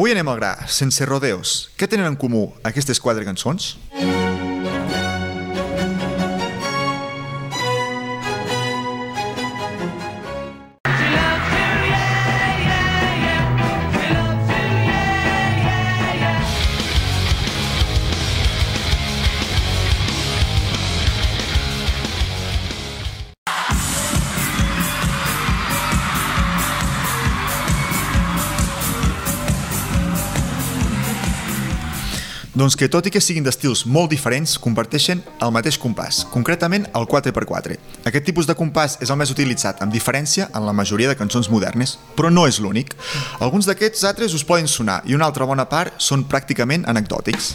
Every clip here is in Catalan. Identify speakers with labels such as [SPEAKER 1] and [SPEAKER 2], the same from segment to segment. [SPEAKER 1] Avui anem al gra, sense rodeos. Què tenen en comú aquestes quatre cançons? Doncs que tot i que siguin d'estils molt diferents, comparteixen el mateix compàs, concretament el 4x4. Aquest tipus de compàs és el més utilitzat amb diferència en la majoria de cançons modernes, però no és l'únic. Alguns d'aquests altres us poden sonar i una altra bona part són pràcticament anecdòtics.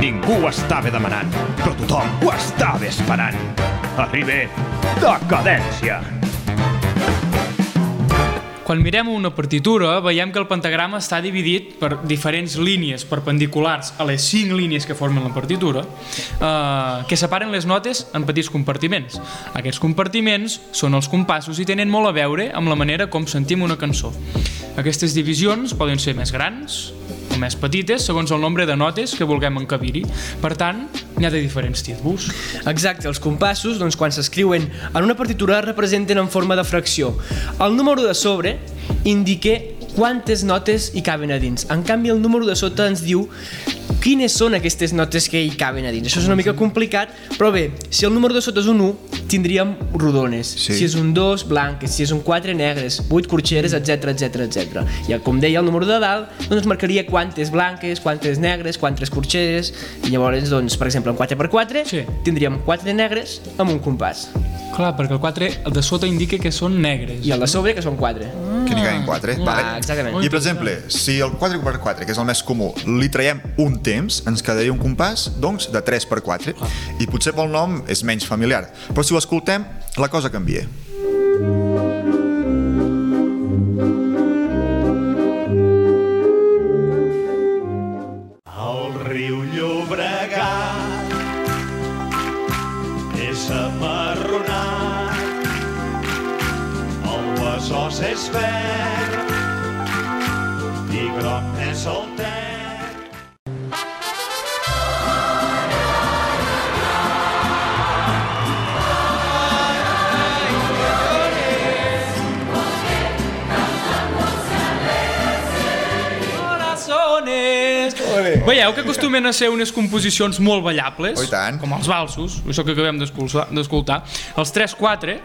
[SPEAKER 2] Ningú ho estava demanant, però tothom ho estava esperant. Arriba decadència.
[SPEAKER 3] Quan mirem una partitura, veiem que el pentagrama està dividit per diferents línies perpendiculars a les cinc línies que formen la partitura, eh, que separen les notes en petits compartiments. Aquests compartiments són els compassos i tenen molt a veure amb la manera com sentim una cançó. Aquestes divisions poden ser més grans o més petites segons el nombre de notes que vulguem encabir-hi. Per tant, n'hi ha de diferents tipus.
[SPEAKER 4] Exacte, els compassos, doncs, quan s'escriuen en una partitura, es representen en forma de fracció. El número de sobre indica quantes notes hi caben a dins. En canvi, el número de sota ens diu quines són aquestes notes que hi caben a dins. Això és una mica complicat, però bé, si el número de sota és un 1, tindríem rodones.
[SPEAKER 1] Sí.
[SPEAKER 4] Si és un 2, blanques. Si és un 4, negres. 8, corxeres, etc etc etc. I com deia el número de dalt, doncs marcaria quantes blanques, quantes negres, quantes corxeres. I llavors, doncs, per exemple, en 4x4
[SPEAKER 3] Sí.
[SPEAKER 4] tindríem 4 negres amb un compàs.
[SPEAKER 3] Clar, perquè el 4, el de sota indica que són negres.
[SPEAKER 4] I el de sobre, que són 4.
[SPEAKER 1] Que n'hi caiguin 4.
[SPEAKER 4] Ah, exactament.
[SPEAKER 1] I per exemple, si el 4x4, que és el més comú, li traiem un temps, ens quedaria un compàs, doncs, de 3x4. I potser pel nom és menys familiar. Però si ho escoltem, la cosa canvia.
[SPEAKER 2] El riu Llobregat és amarronat, el besòs és verd i groc és el tec.
[SPEAKER 3] Corazones. Veieu que acostumen a ser unes composicions molt ballables,
[SPEAKER 1] Oh, i tant.
[SPEAKER 3] com els valsos, això que acabem d'escoltar. d'escoltar. Els 3-4,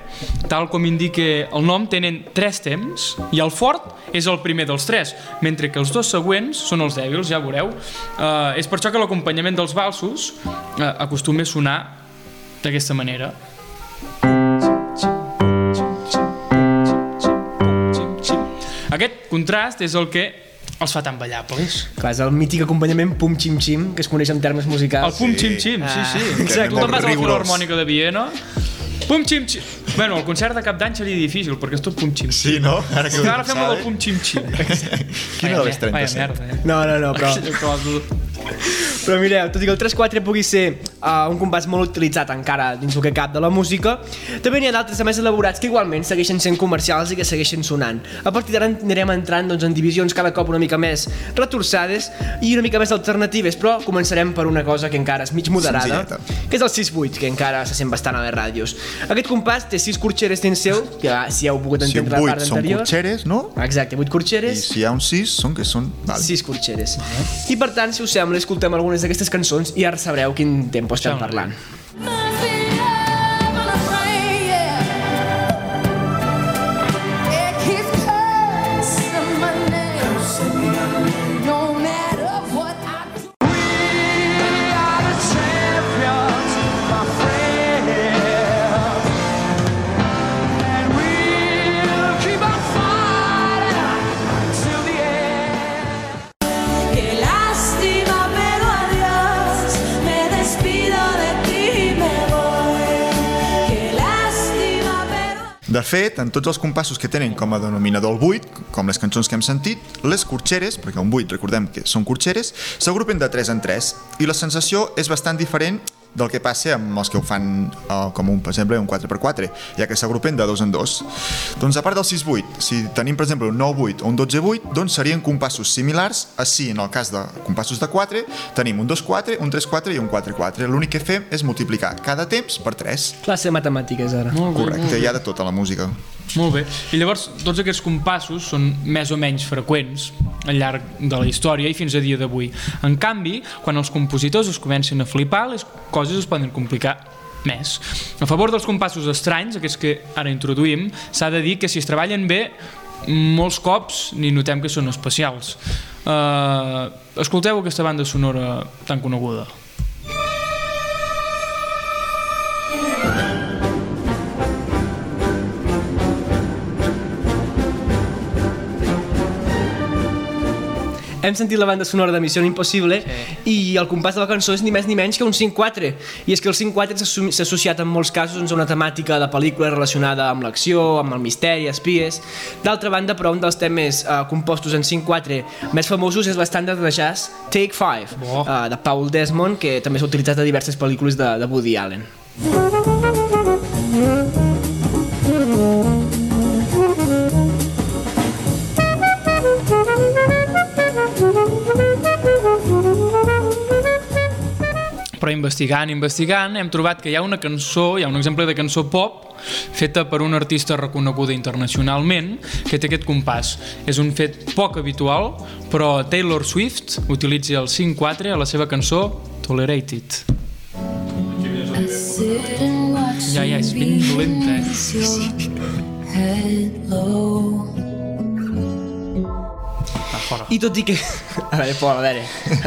[SPEAKER 3] tal com indica el nom, tenen 3 temps i el fort és el primer dels 3, mentre que els dos següents són els dèbils, ja veureu. Uh, és per això que l'acompanyament dels valsos uh, acostuma a sonar d'aquesta manera. Aquest contrast és el que els fa tan ballables.
[SPEAKER 4] Clar, és el mític acompanyament pum xim xim, que es coneix en termes
[SPEAKER 3] El
[SPEAKER 1] Ah,
[SPEAKER 4] musicals.
[SPEAKER 3] pum xim xim, sí, sí.
[SPEAKER 4] Ah,
[SPEAKER 1] exacte.
[SPEAKER 3] Tu te'n vas a la
[SPEAKER 1] Rigorós.
[SPEAKER 3] Filarmònica de Viena, pum xim xim. Bueno, el concert de cap d'any seria difícil, perquè és tot pum xim xim.
[SPEAKER 1] Sí, no? Ara
[SPEAKER 3] Però Ara fem el del pum xim xim.
[SPEAKER 1] Quina
[SPEAKER 3] Vaya
[SPEAKER 1] de les
[SPEAKER 3] mer- vaya
[SPEAKER 1] 37?
[SPEAKER 3] merda, eh?
[SPEAKER 4] No, no, no, però... Però mireu, tot i que el 3-4 pugui ser uh, un compàs molt utilitzat encara dins el que cap de la música, també n'hi ha d'altres més elaborats que igualment segueixen sent comercials i que segueixen sonant. A partir d'ara anirem entrant doncs, en divisions cada cop una mica més retorçades i una mica més alternatives, però començarem per una cosa que encara és mig moderada,
[SPEAKER 1] Senzilleta.
[SPEAKER 4] que és el 6-8, que encara se sent bastant a les ràdios. Aquest compàs té 6 corxeres dins seu, que ah, si heu pogut
[SPEAKER 1] Si un
[SPEAKER 4] entendre la
[SPEAKER 1] 8
[SPEAKER 4] part
[SPEAKER 1] són
[SPEAKER 4] anterior...
[SPEAKER 1] cotxeres, no?
[SPEAKER 4] Exacte, 8
[SPEAKER 1] I
[SPEAKER 4] corxeres.
[SPEAKER 1] si hi ha un 6, són que són... Vale.
[SPEAKER 4] Sis corxeres. I per tant, si us sembla, escoltem algunes d'aquestes cançons i ara sabreu quin tempo estem
[SPEAKER 3] Sembla.
[SPEAKER 4] parlant.
[SPEAKER 5] Must be having a friend, yeah. It keeps cursing my name, no matter what I do. Qué lástima, pero adiós, me despido de ti y me voy. Qué lástima, pero...
[SPEAKER 1] De fet, en tots els compassos que tenen com a denominador el 8, com les cançons que hem sentit, les corxeres, perquè un 8 recordem que són corxeres, s'agrupen de 3 en 3 i la sensació és bastant diferent del que passa amb els que ho fan eh, com un, per exemple, un 4x4, ja que s'agrupen de dos en dos. Doncs a part del 6-8, si tenim, per exemple, un 9-8 o un 12-8, doncs serien compassos similars a si, en el cas de compassos de 4, tenim un 2-4, un 3-4 i un 4-4. L'únic que fem és multiplicar cada temps per 3.
[SPEAKER 4] Classe de matemàtiques, ara.
[SPEAKER 3] Molt bé,
[SPEAKER 1] Correcte, hi ha de tota la música.
[SPEAKER 3] Molt bé. I llavors, tots aquests compassos són més o menys freqüents al llarg de la història i fins a dia d'avui. En canvi, quan els compositors es comencen a flipar, les coses es poden complicar més. A favor dels compassos estranys, aquests que ara introduïm, s'ha de dir que si es treballen bé, molts cops ni notem que són especials. Uh, escolteu aquesta banda sonora tan coneguda.
[SPEAKER 4] Hem sentit la banda sonora de Missió Impossible
[SPEAKER 3] Sí.
[SPEAKER 4] i el compàs de la cançó és ni més ni menys que un 5-4. I és que el 5-4 s'assumi- s'ha associat en molts casos doncs, a una temàtica de pel·lícula relacionada amb l'acció, amb el misteri, espies... D'altra banda, però, un dels temes eh, compostos en 5-4 més famosos és l'estàndard de jazz Take 5,
[SPEAKER 3] Bo.
[SPEAKER 4] eh, de Paul Desmond, que també s'ha utilitzat a diverses pel·lícules de, de Woody Allen.
[SPEAKER 3] Però investigant, investigant, hem trobat que hi ha una cançó, hi ha un exemple de cançó pop feta per una artista reconeguda internacionalment que té aquest compàs. És un fet poc habitual, però Taylor Swift utilitza el 5-4 a la seva cançó Tolerated. Ja, ja, és ben dolenta, eh? Va, fora.
[SPEAKER 4] I tot i que... A veure, Pol, a veure,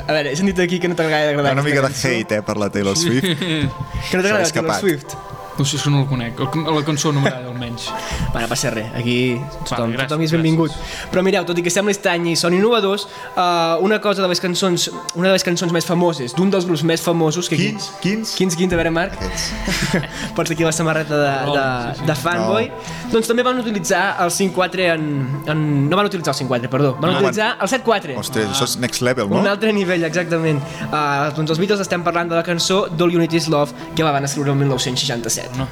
[SPEAKER 4] a veure, he sentit aquí que no t'agrada
[SPEAKER 1] Hi ha
[SPEAKER 4] agradar
[SPEAKER 1] una mica de
[SPEAKER 4] aquesta cançó.
[SPEAKER 1] hate, eh, per la Taylor Swift.
[SPEAKER 4] Que no t'agrada
[SPEAKER 1] S'ha
[SPEAKER 4] Taylor
[SPEAKER 1] escapat.
[SPEAKER 4] Swift?
[SPEAKER 3] No sé si no el conec, el- la cançó no m'agrada almenys.
[SPEAKER 4] Bueno, no passa res, aquí tothom,
[SPEAKER 3] gràcies,
[SPEAKER 4] tothom hi és benvingut. Però mireu, tot i que sembla estrany i són innovadors, uh, una cosa de les cançons, una de les cançons més famoses, d'un dels grups més famosos... Que aquí-
[SPEAKER 1] Quins? Quins?
[SPEAKER 4] Quins, quins, a veure, Marc?
[SPEAKER 1] Aquests.
[SPEAKER 4] Porta aquí la samarreta de, de,
[SPEAKER 3] Rollins, sí, sí.
[SPEAKER 4] de fanboy. Doncs també van utilitzar el 5-4 en, en... No van utilitzar el 5-4, perdó. Van
[SPEAKER 1] No,
[SPEAKER 4] utilitzar el 7-4.
[SPEAKER 1] Ostres, això és next level,
[SPEAKER 4] Un
[SPEAKER 1] no?
[SPEAKER 4] altre nivell, exactament. Uh, doncs els Beatles estem parlant de la cançó All You Need Is Love, que la van escriure el 1967.
[SPEAKER 3] No.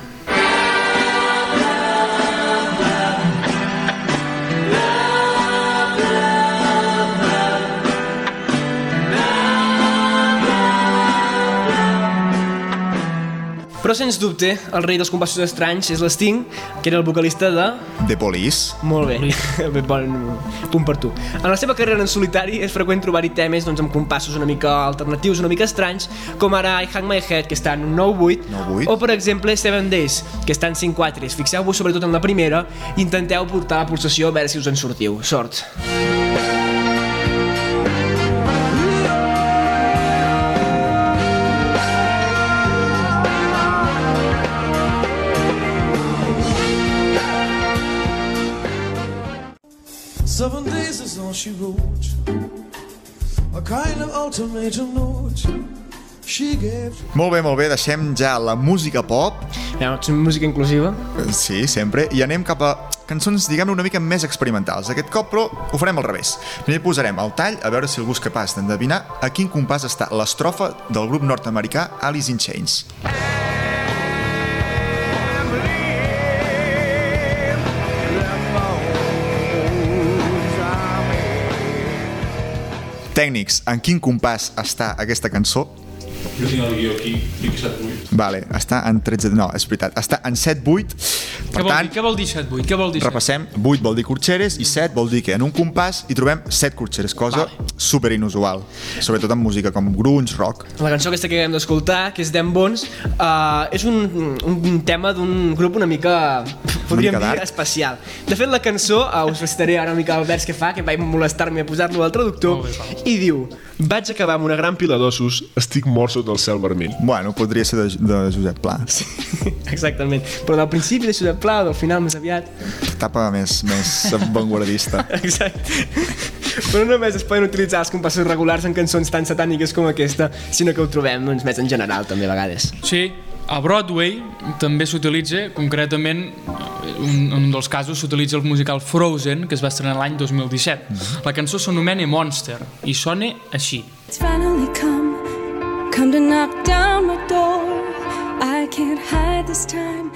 [SPEAKER 4] Però, sens dubte, el rei dels compassos estranys és l'Sting, que era el vocalista de...
[SPEAKER 1] The Police.
[SPEAKER 4] Molt bé, Bé, bon punt per tu. En la seva carrera en solitari és freqüent trobar-hi temes doncs, amb compassos una mica alternatius, una mica estranys, com ara I Hang My Head, que està en un 9-8,
[SPEAKER 1] 9-8.
[SPEAKER 4] o per exemple Seven Days, que està en 5-4. Fixeu-vos sobretot en la primera i intenteu portar la pulsació a veure si us en sortiu. Sort!
[SPEAKER 6] Seven days is all she wrote. A kind of ultimatum note she gave.
[SPEAKER 1] Molt bé, molt bé, deixem ja la música pop,
[SPEAKER 4] Veure, és música inclusiva.
[SPEAKER 1] eh, sí, sempre, i anem cap a cançons, diguem una mica més experimentals. Aquest cop, però, ho farem al revés. Primer posarem el tall a veure si algú és capaç d'endevinar a quin compàs està l'estrofa del grup nord-americà Alice in Chains. Tècnics, en quin compàs està aquesta cançó?
[SPEAKER 7] Jo tinc el guió aquí, fixat avui.
[SPEAKER 1] Vale, està en 13... No, és veritat, està en 7-8.
[SPEAKER 3] Què
[SPEAKER 1] Per
[SPEAKER 3] vol, dir,
[SPEAKER 1] tant,
[SPEAKER 3] què vol dir 7-8? Què vol dir 7-8?
[SPEAKER 1] repassem, 8 vol dir corxeres i 7 vol dir que en un compàs hi trobem 7 corxeres, cosa vale. super inusual, sobretot en música com grunge, rock.
[SPEAKER 4] La cançó aquesta que acabem d'escoltar, que és Dan Bones, uh, és un, un tema d'un grup una mica, podríem
[SPEAKER 1] mica
[SPEAKER 4] dir,
[SPEAKER 1] dark.
[SPEAKER 4] especial. De fet, la cançó, uh, us recitaré ara una mica el vers que fa, que vaig molestar-me a posar-lo al traductor,
[SPEAKER 3] Molt bé, Pau.
[SPEAKER 4] i diu...
[SPEAKER 8] Vaig acabar amb una gran pila d'ossos, estic mort sota el cel vermell.
[SPEAKER 1] Bueno, podria ser de, de Josep Pla.
[SPEAKER 4] Exactament. Però del principi deixo de pla, del final més aviat...
[SPEAKER 1] Etapa més, més vanguardista.
[SPEAKER 4] Exacte. Però no només es poden utilitzar els compassos regulars en cançons tan satàniques com aquesta, sinó que ho trobem doncs, més en general, també, a vegades.
[SPEAKER 3] Sí, a Broadway també s'utilitza, concretament, un, un dels casos s'utilitza el musical Frozen, que es va estrenar l'any
[SPEAKER 4] Mhm.
[SPEAKER 3] 2017. La cançó s'anomena Monster i sona així.
[SPEAKER 9] It's finally come, come to knock down my door. I can't hide this time.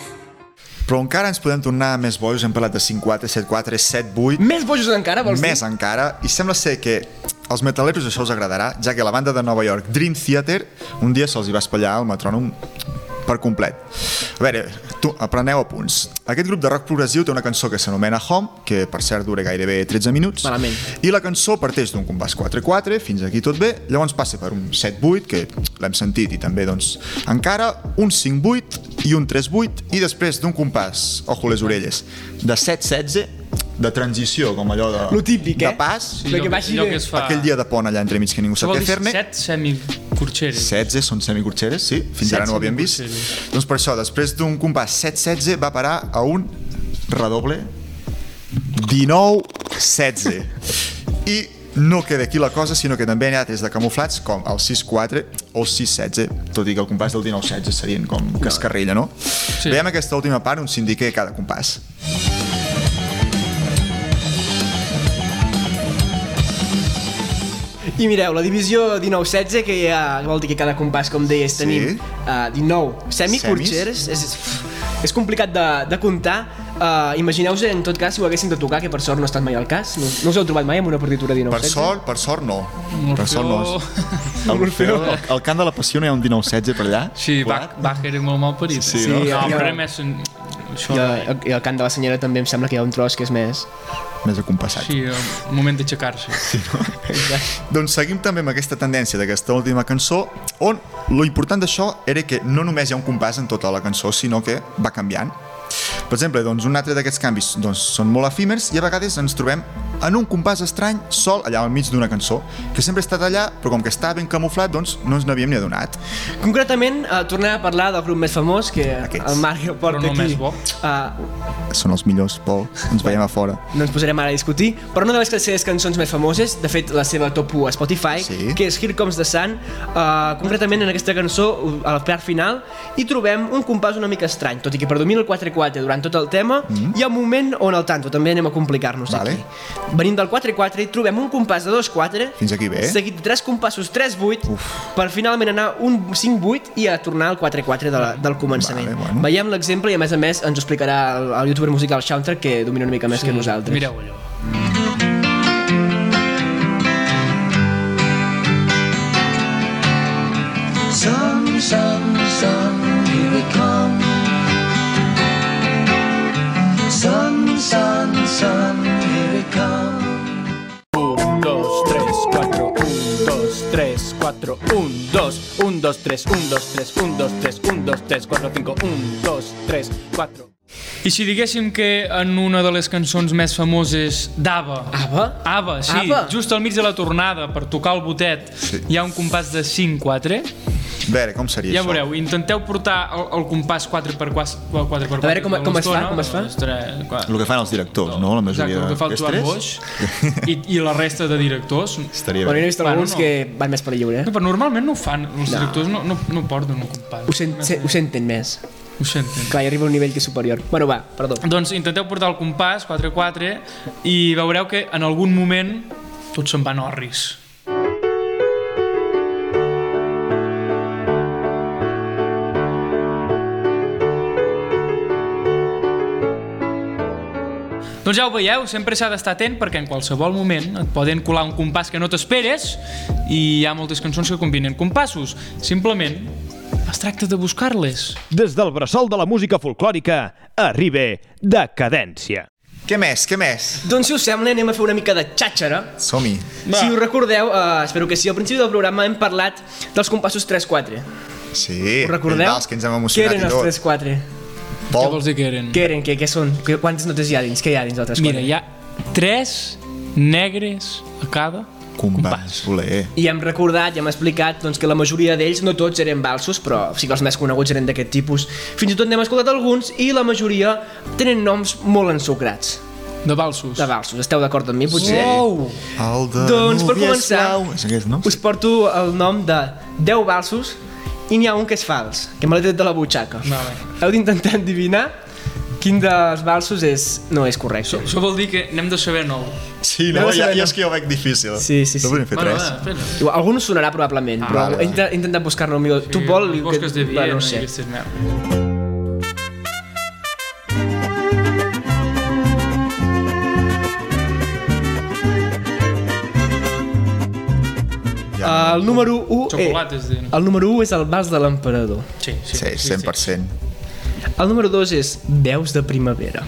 [SPEAKER 1] Però encara ens podem tornar més bojos, hem parlat de 5-4, 7-4, 7-8,
[SPEAKER 4] Més bojos encara, vols
[SPEAKER 1] més
[SPEAKER 4] dir?
[SPEAKER 1] encara, i sembla ser que als metaleros això els agradarà, ja que la banda de Nova York, Dream Theater, un dia se'ls hi va espatllar el metrònom per complet. A veure, tu, apreneu a punts. Aquest grup de rock progressiu té una cançó que s'anomena Home, que per cert dura gairebé 13 minuts.
[SPEAKER 4] Malament.
[SPEAKER 1] I la cançó parteix d'un compàs 4-4, fins aquí tot bé, llavors passa per un 7-8, que l'hem sentit i també, doncs, encara, un 5-8 i un 3-8, i després d'un compàs, ojo les orelles, de 7-16, de transició, com allò de...
[SPEAKER 4] Lo típic,
[SPEAKER 1] de
[SPEAKER 4] eh?
[SPEAKER 1] pas,
[SPEAKER 4] Lo que vagi
[SPEAKER 3] allò
[SPEAKER 4] bé.
[SPEAKER 3] que es fa...
[SPEAKER 1] aquell dia de pont allà entremig que ningú
[SPEAKER 3] Això
[SPEAKER 1] sap
[SPEAKER 3] vol
[SPEAKER 1] què
[SPEAKER 3] dir
[SPEAKER 1] fer-ne.
[SPEAKER 3] set semicurxeres.
[SPEAKER 1] 16 són semicurxeres, sí, fins ara no ho havíem vist.
[SPEAKER 3] semicurxeres.
[SPEAKER 1] Doncs per això, després d'un compàs 7-16 va parar a un redoble 19-16. I no queda aquí la cosa, sinó que també hi ha altres de camuflats com el 6-4 o 6-16, tot i que el compàs del 19-16 serien com que es carrilla, no? Sí. Veiem aquesta última part on s'indica cada compàs.
[SPEAKER 4] I mireu, la divisió 19-16, que ja vol dir que cada compàs, com deies, tenim uh, 19 semicurxeres, és, és- és complicat de, de comptar. Uh, Imagineu-vos, en tot cas, si ho haguéssim de tocar, que per sort no ha estat mai el cas. No, no us heu trobat mai amb una partitura 19-16?
[SPEAKER 1] Per sort, per sort no. Per sort no.
[SPEAKER 3] Orfeó.
[SPEAKER 1] L'Orfeo, el, el cant de la passió no hi ha un 19-16 per allà?
[SPEAKER 3] Sí, Bach,
[SPEAKER 1] Colat?
[SPEAKER 3] Bach era molt mal parit.
[SPEAKER 1] Sí,
[SPEAKER 4] no?
[SPEAKER 3] no,
[SPEAKER 4] Sí, ja.
[SPEAKER 3] però era més... un- Això,
[SPEAKER 4] I
[SPEAKER 3] ja.
[SPEAKER 4] el, I el cant de la senyora també em sembla que hi ha un tros que és més...
[SPEAKER 1] Més acompassat.
[SPEAKER 3] sí, el moment d'aixecar-se.
[SPEAKER 1] Doncs seguim també amb aquesta tendència d'aquesta última cançó, on lo important d'això era que no només hi ha un compàs en tota la cançó, sinó que va canviant. Per exemple, doncs, un altre d'aquests canvis doncs, són molt efímers i a vegades ens trobem en un compàs estrany sol allà al mig d'una cançó, que sempre ha estat allà, però com que està ben camuflat, doncs no ens n'havíem ni adonat.
[SPEAKER 4] Concretament, uh, tornem a parlar del grup més famós, que
[SPEAKER 1] Aquests.
[SPEAKER 4] el Marc el porta
[SPEAKER 3] Però no
[SPEAKER 4] aquí.
[SPEAKER 3] més bo.
[SPEAKER 4] Uh,
[SPEAKER 1] Són els millors, Pol. Ens veiem a fora.
[SPEAKER 4] no ens posarem ara a discutir, però una de les seves cançons més famoses, de fet la seva top 1 a Spotify,
[SPEAKER 1] Sí.
[SPEAKER 4] que és Here Comes the Sun, uh, concretament en aquesta cançó, uh, a la part final, hi trobem un compàs una mica estrany, tot i que predomina el 4-4 durant tot el tema, mm. hi ha un moment on el tanto, també anem a complicar-nos
[SPEAKER 1] Vale.
[SPEAKER 4] aquí. Venim del 4-4 i trobem un compàs de 2-4,
[SPEAKER 1] Fins aquí bé.
[SPEAKER 4] seguit de 3 compassos 3-8, per finalment anar un 5-8 i a tornar al 4-4 de la, del començament.
[SPEAKER 1] Vale, bueno.
[SPEAKER 4] Veiem l'exemple i a més a més ens ho explicarà el, el youtuber musical Shaunter, que domina una mica més que nosaltres.
[SPEAKER 3] Mireu allò.
[SPEAKER 6] Sun, sun, sun, here we come. Sun, sun, sun, here we come.
[SPEAKER 10] 1, 2, 3, 4, 1, 2, 3, 4, 1, 2, 1, 2, 3, 1, 2, 3, 1, 2, 3, 1, 2, 3, 4, 5, 1, 2, 3, 4.
[SPEAKER 3] I si diguéssim que en una de les cançons més famoses d'Ava...
[SPEAKER 4] Ava?
[SPEAKER 3] Ava, sí,
[SPEAKER 4] Ava?
[SPEAKER 3] just al mig de la tornada per tocar el botet
[SPEAKER 1] Sí.
[SPEAKER 3] hi ha un compàs de 5-4
[SPEAKER 1] A veure, com seria
[SPEAKER 3] ja
[SPEAKER 1] això?
[SPEAKER 3] veureu, intenteu portar el, el compàs 4x4 4x4
[SPEAKER 4] A veure com- com es fa, com es fa?
[SPEAKER 1] El que fan els directors, no? La majoria
[SPEAKER 3] doncs, Exacte, el que fa el Joan Boix
[SPEAKER 1] d'orquestres.
[SPEAKER 3] i, i la resta de directors
[SPEAKER 1] Estaria
[SPEAKER 4] Bueno, jo
[SPEAKER 1] bé.
[SPEAKER 4] he vist
[SPEAKER 3] Bueno,
[SPEAKER 4] alguns
[SPEAKER 3] no.
[SPEAKER 4] que van més per lliure,
[SPEAKER 3] no,
[SPEAKER 4] eh?
[SPEAKER 3] però normalment no ho fan, els directors no, no, no porten un compàs
[SPEAKER 4] Ho, sent, se, ho senten més.
[SPEAKER 3] ho senten
[SPEAKER 4] Clar, hi arriba a un nivell que és superior. Bueno, va, perdó.
[SPEAKER 3] Doncs intenteu portar el compàs 4-4 i veureu que en algun moment tot se'n van orris. Doncs ja ho veieu, sempre s'ha d'estar atent perquè en qualsevol moment et poden colar un compàs que no t'esperes i hi ha moltes cançons que combinen compassos. Simplement es tracta de buscar-les.
[SPEAKER 2] Des del bressol de la música folclòrica, arriba Decadència.
[SPEAKER 1] Què més, què més?
[SPEAKER 4] Doncs si us sembla, anem a fer una mica de xàxara.
[SPEAKER 1] Som-hi.
[SPEAKER 4] Si us recordeu, eh, espero que sí, al principi del programa hem parlat dels compassos 3-4.
[SPEAKER 1] Sí,
[SPEAKER 4] Ho recordeu?
[SPEAKER 1] Els que ens hem emocionat
[SPEAKER 4] Què eren
[SPEAKER 1] i tot.
[SPEAKER 4] els 3-4?
[SPEAKER 3] Què
[SPEAKER 1] Pol,
[SPEAKER 3] vols dir que eren?
[SPEAKER 4] Què eren? Què, què són? Que- Quantes notes hi ha dins? Què hi ha dins del 3-4?
[SPEAKER 3] Mira, hi ha tres negres a cada
[SPEAKER 1] compàs,
[SPEAKER 3] compàs.
[SPEAKER 1] voler.
[SPEAKER 4] I hem recordat, i hem explicat doncs, que la majoria d'ells, no tots eren balsos, però sí que els més coneguts eren d'aquest tipus. Fins i tot n'hem escoltat alguns i la majoria tenen noms molt ensucrats
[SPEAKER 3] De balsos.
[SPEAKER 4] de balsos. Esteu d'acord amb mi, potser?
[SPEAKER 3] Wow!
[SPEAKER 1] El de
[SPEAKER 4] Doncs, per
[SPEAKER 1] Núvia és
[SPEAKER 4] començar,
[SPEAKER 1] blau. És aquest, no?
[SPEAKER 4] Us porto el nom de 10 balsos i n'hi ha un que és fals, que me l'he tret de la butxaca.
[SPEAKER 3] Vale.
[SPEAKER 4] Heu d'intentar endivinar Quin dels versos és... no és correcte?
[SPEAKER 3] Això vol dir que n'hem de saber nou.
[SPEAKER 1] Sí, no,
[SPEAKER 4] Anem a
[SPEAKER 1] ja,
[SPEAKER 4] saber,
[SPEAKER 1] ja
[SPEAKER 4] no?
[SPEAKER 1] és que jo ho veig difícil.
[SPEAKER 4] Sí, sí, sí.
[SPEAKER 1] No podem fer
[SPEAKER 3] Bueno,
[SPEAKER 1] tres.
[SPEAKER 3] va, espera.
[SPEAKER 4] Igual, algun us sonarà
[SPEAKER 3] Ah,
[SPEAKER 4] probablement, però
[SPEAKER 1] vale,
[SPEAKER 4] he inter- he intentat buscar-ne el millor. tu, Pol...
[SPEAKER 3] Les Bosques de Viena
[SPEAKER 4] va,
[SPEAKER 3] no
[SPEAKER 4] no
[SPEAKER 3] sé. i
[SPEAKER 4] sé.
[SPEAKER 3] aquestes merdes.
[SPEAKER 1] Eh, Ja,
[SPEAKER 4] El número 1...
[SPEAKER 3] Xocolates, de...
[SPEAKER 4] El número 1 és el vas de l'emperador.
[SPEAKER 3] Sí, sí.
[SPEAKER 1] ah, sí, 100%.
[SPEAKER 4] El número 2 és Veus de primavera.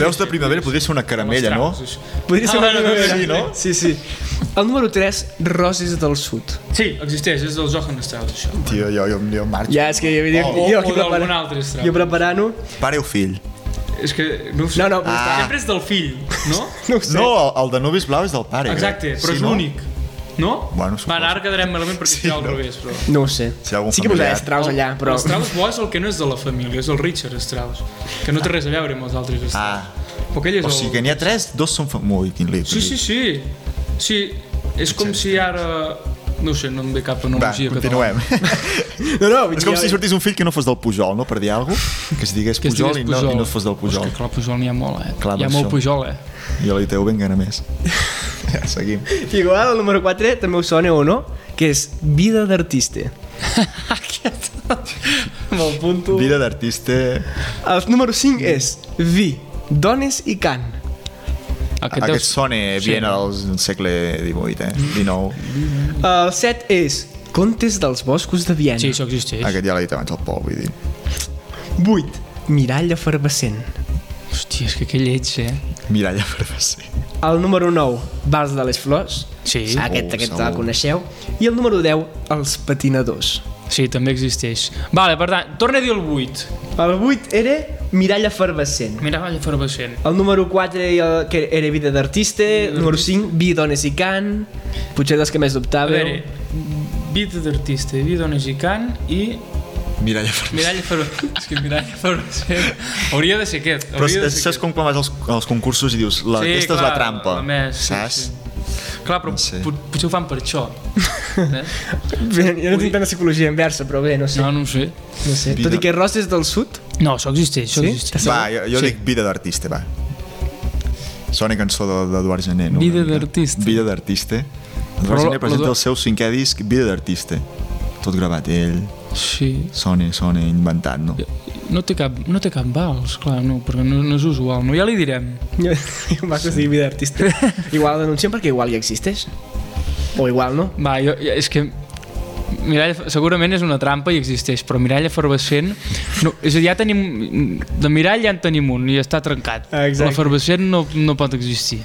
[SPEAKER 1] Veus de primavera podria ser una caramella, no?
[SPEAKER 4] Podria ser
[SPEAKER 3] Ah,
[SPEAKER 4] una
[SPEAKER 3] bueno,
[SPEAKER 4] primavera.
[SPEAKER 3] sí,
[SPEAKER 1] no?
[SPEAKER 4] Sí, sí. El número 3, Roses del Sud.
[SPEAKER 3] Sí, existeix, és del Johan Strauss, això.
[SPEAKER 1] Tio, jo, jo, jo marxo.
[SPEAKER 4] Ja, és que jo, jo,
[SPEAKER 3] O-
[SPEAKER 4] jo
[SPEAKER 3] Oh, o
[SPEAKER 4] aquí
[SPEAKER 3] d'algun
[SPEAKER 4] prepara-
[SPEAKER 3] altre Strauss.
[SPEAKER 4] Jo preparant-ho...
[SPEAKER 1] Pare o fill?
[SPEAKER 3] És que no ho sé.
[SPEAKER 4] No, no,
[SPEAKER 3] ah.
[SPEAKER 4] però està-
[SPEAKER 3] Sempre és del fill, no?
[SPEAKER 4] No ho sé.
[SPEAKER 1] No, el, el de Nubis Blau és del pare. crec.
[SPEAKER 3] Exacte, però
[SPEAKER 1] Sí,
[SPEAKER 3] és
[SPEAKER 1] no?
[SPEAKER 3] l'únic. No?
[SPEAKER 1] Bueno,
[SPEAKER 3] Va,
[SPEAKER 1] suposo.
[SPEAKER 3] ara quedarem malament perquè
[SPEAKER 1] Sí,
[SPEAKER 3] sí, al
[SPEAKER 1] no.
[SPEAKER 3] revés, però...
[SPEAKER 4] No ho sé.
[SPEAKER 1] Si hi ha algun
[SPEAKER 4] sí que posaré
[SPEAKER 1] familiar.
[SPEAKER 4] Strauss
[SPEAKER 3] Oh,
[SPEAKER 4] allà, però...
[SPEAKER 3] Strauss bo és el que no és de la família, és el Richard Strauss, que no té res a veure amb els altres Strauss.
[SPEAKER 1] Ah.
[SPEAKER 3] Ah. Perquè ell és
[SPEAKER 1] O sigui que
[SPEAKER 3] el...
[SPEAKER 1] n'hi ha tres, dos són... Fa... Ui, quin lío.
[SPEAKER 3] Sí, sí, sí. Sí, és com si ara... No ho sé, no em ve cap
[SPEAKER 1] Va,
[SPEAKER 3] analogia
[SPEAKER 1] continuem.
[SPEAKER 4] No, no,
[SPEAKER 1] és com si sortís un fill que no fos del Pujol, no? Per dir alguna cosa. Que es digués
[SPEAKER 3] Que es
[SPEAKER 1] Pujol,
[SPEAKER 3] digués
[SPEAKER 1] i, no,
[SPEAKER 3] Pujol.
[SPEAKER 1] i no fos del Pujol.
[SPEAKER 3] És que clar, Pujol n'hi ha molt, eh?
[SPEAKER 1] Clar,
[SPEAKER 3] hi ha
[SPEAKER 1] per
[SPEAKER 3] molt
[SPEAKER 1] això.
[SPEAKER 3] Pujol, eh?
[SPEAKER 1] I a l'ITU venguen a més. Ja, seguim.
[SPEAKER 4] Igual, el número 4 també us sona o no, que és Vida d'artista.
[SPEAKER 3] Aquest... Me'l punto.
[SPEAKER 1] Vida d'artista...
[SPEAKER 4] El número 5 és Vi, dones i cant.
[SPEAKER 3] Aquest,
[SPEAKER 1] Aquest
[SPEAKER 3] Aquest
[SPEAKER 1] sona bien al segle XVIII, eh?
[SPEAKER 3] Mm.
[SPEAKER 1] XIX.
[SPEAKER 4] El 7 és Contes dels boscos de Viena.
[SPEAKER 3] Sí, això existeix.
[SPEAKER 1] Aquest ja l'ha dit abans el Pol, vull dir.
[SPEAKER 4] 8. Mirall efervescent.
[SPEAKER 3] Hòstia, és que que lleig, eh?
[SPEAKER 1] Miralla efervescent.
[SPEAKER 4] El número 9, Vals de les flors.
[SPEAKER 3] Sí. Oh,
[SPEAKER 4] aquest, aquest
[SPEAKER 1] segur.
[SPEAKER 4] el coneixeu. I el número 10, Els patinadors.
[SPEAKER 3] Sí, també existeix. Vale, per tant, torna a dir el 8.
[SPEAKER 4] El 8 era Mirall efervescent.
[SPEAKER 3] Mira, vall efervescent.
[SPEAKER 4] El número 4 i el, que era Vida d'artista. El número 5, Vi, dones i cant. Potser dels que més
[SPEAKER 3] A
[SPEAKER 4] dubtàveu.
[SPEAKER 3] veure, vida d'artista, vida dones i cant i
[SPEAKER 1] Miralla efervescent.
[SPEAKER 3] mirall efervescent. és que mirall efervescent. Hauria de ser aquest.
[SPEAKER 1] Però
[SPEAKER 3] Hauria de
[SPEAKER 1] és,
[SPEAKER 3] ser
[SPEAKER 1] saps com quan vas als, als concursos i dius la,
[SPEAKER 3] Sí,
[SPEAKER 1] aquesta és la
[SPEAKER 3] clar,
[SPEAKER 1] trampa,
[SPEAKER 3] la més, sí,
[SPEAKER 1] saps?
[SPEAKER 3] sí. Clar, però
[SPEAKER 1] No sé.
[SPEAKER 3] pot, potser ho fan per això. Eh?
[SPEAKER 4] Bé, jo no tinc tanta psicologia inversa, però bé, no sé.
[SPEAKER 3] No, no ho sé.
[SPEAKER 4] No sé.
[SPEAKER 1] Vida-
[SPEAKER 4] Tot i que Roses del Sud,
[SPEAKER 3] No, això existeix, això
[SPEAKER 4] Sí?
[SPEAKER 3] existeix.
[SPEAKER 1] Va, jo, jo sí. dic vida d'artista, va. Sona cançó de- d'Eduard Gené, no?
[SPEAKER 3] Vida
[SPEAKER 1] Una mica.
[SPEAKER 3] d'artista.
[SPEAKER 1] Vida d'artista.
[SPEAKER 3] Però
[SPEAKER 1] Eduard Gené
[SPEAKER 3] la-
[SPEAKER 1] presenta el
[SPEAKER 3] l'Eduard-
[SPEAKER 1] seu cinquè disc, Vida d'artista. Tot gravat ell,
[SPEAKER 3] Sí.
[SPEAKER 1] sona, sona, inventat, no?
[SPEAKER 3] No té cap, no té cap vals, clar, no, perquè no, no és usual. No, ja li direm.
[SPEAKER 4] jo, jo em va aconseguir vida d'artista. Igual el denunciem perquè igual ja existeix. O igual no.
[SPEAKER 3] Va, jo, jo- és que Mirall, segurament és una trampa i existeix, però mirall efervescent... No, és a dir, ja tenim... De mirall ja en tenim un i està trencat.
[SPEAKER 4] Ah, exacte.
[SPEAKER 3] L'efervescent no, no pot existir.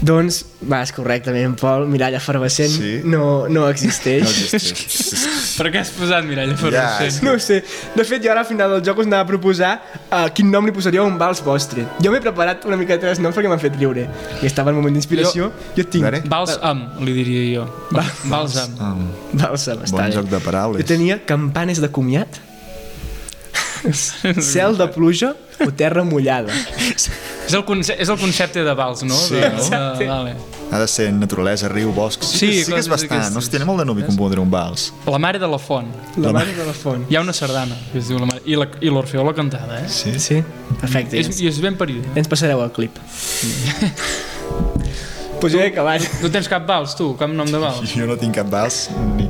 [SPEAKER 4] Doncs vas correctament, Pol. Mirall efervescent
[SPEAKER 1] Sí.
[SPEAKER 4] no, no existeix.
[SPEAKER 1] No existeix.
[SPEAKER 3] Per què has posat mirall efervescent?
[SPEAKER 4] No ho sé. De fet, jo ara al final del joc us anava a proposar uh, quin nom li posaria a un vals vostre. Jo m'he preparat una mica de tres noms perquè m'han fet riure. I estava en moment d'inspiració. Jo... jo tinc...
[SPEAKER 1] A veure.
[SPEAKER 3] Vals amb, li diria jo. Va, Vals amb.
[SPEAKER 4] Bàlsam, està
[SPEAKER 1] Bon
[SPEAKER 4] bé.
[SPEAKER 1] joc de paraules.
[SPEAKER 4] Jo tenia campanes de comiat, cel de pluja o terra mullada.
[SPEAKER 3] És el, conce és el concepte de vals, no? Sí, de,
[SPEAKER 4] Exacte.
[SPEAKER 3] De, vale.
[SPEAKER 1] Ha de ser naturalesa, riu, bosc. Sí,
[SPEAKER 3] Sí,
[SPEAKER 1] sí, que, sí que és
[SPEAKER 3] coses
[SPEAKER 1] bastant.
[SPEAKER 3] d'aquestes.
[SPEAKER 1] No tenen molt de nom i compondre un vals.
[SPEAKER 3] La mare de la font.
[SPEAKER 4] La mare de la font.
[SPEAKER 3] Hi ha una sardana que es diu la mare... I la- I l'Orfeó la cantava, eh?
[SPEAKER 1] Sí.
[SPEAKER 4] Sí, perfecte.
[SPEAKER 3] És,
[SPEAKER 4] És...
[SPEAKER 3] I és ben eh? parida.
[SPEAKER 4] Ens passareu el clip. pues jo he acabat.
[SPEAKER 3] No tens cap vals, tu? Cap nom de vals?
[SPEAKER 1] Jo no tinc cap vals, ni,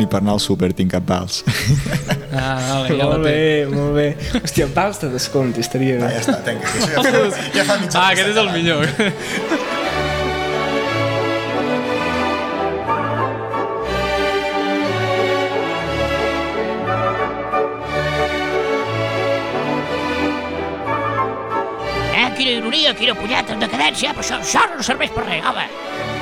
[SPEAKER 1] ni per anar al súper tinc cap vals.
[SPEAKER 3] Ah, vale, ja la té.
[SPEAKER 4] molt bé, molt bé. Hòstia, vals de descompte, estaria
[SPEAKER 1] Ah,
[SPEAKER 4] bé.
[SPEAKER 1] ja està, tenc. Ja fa, ja fa mitja
[SPEAKER 3] Ah, aquest és el millor.
[SPEAKER 11] Eh, quina ironia, quina punyeta en decadència, però això, això no serveix per res, home.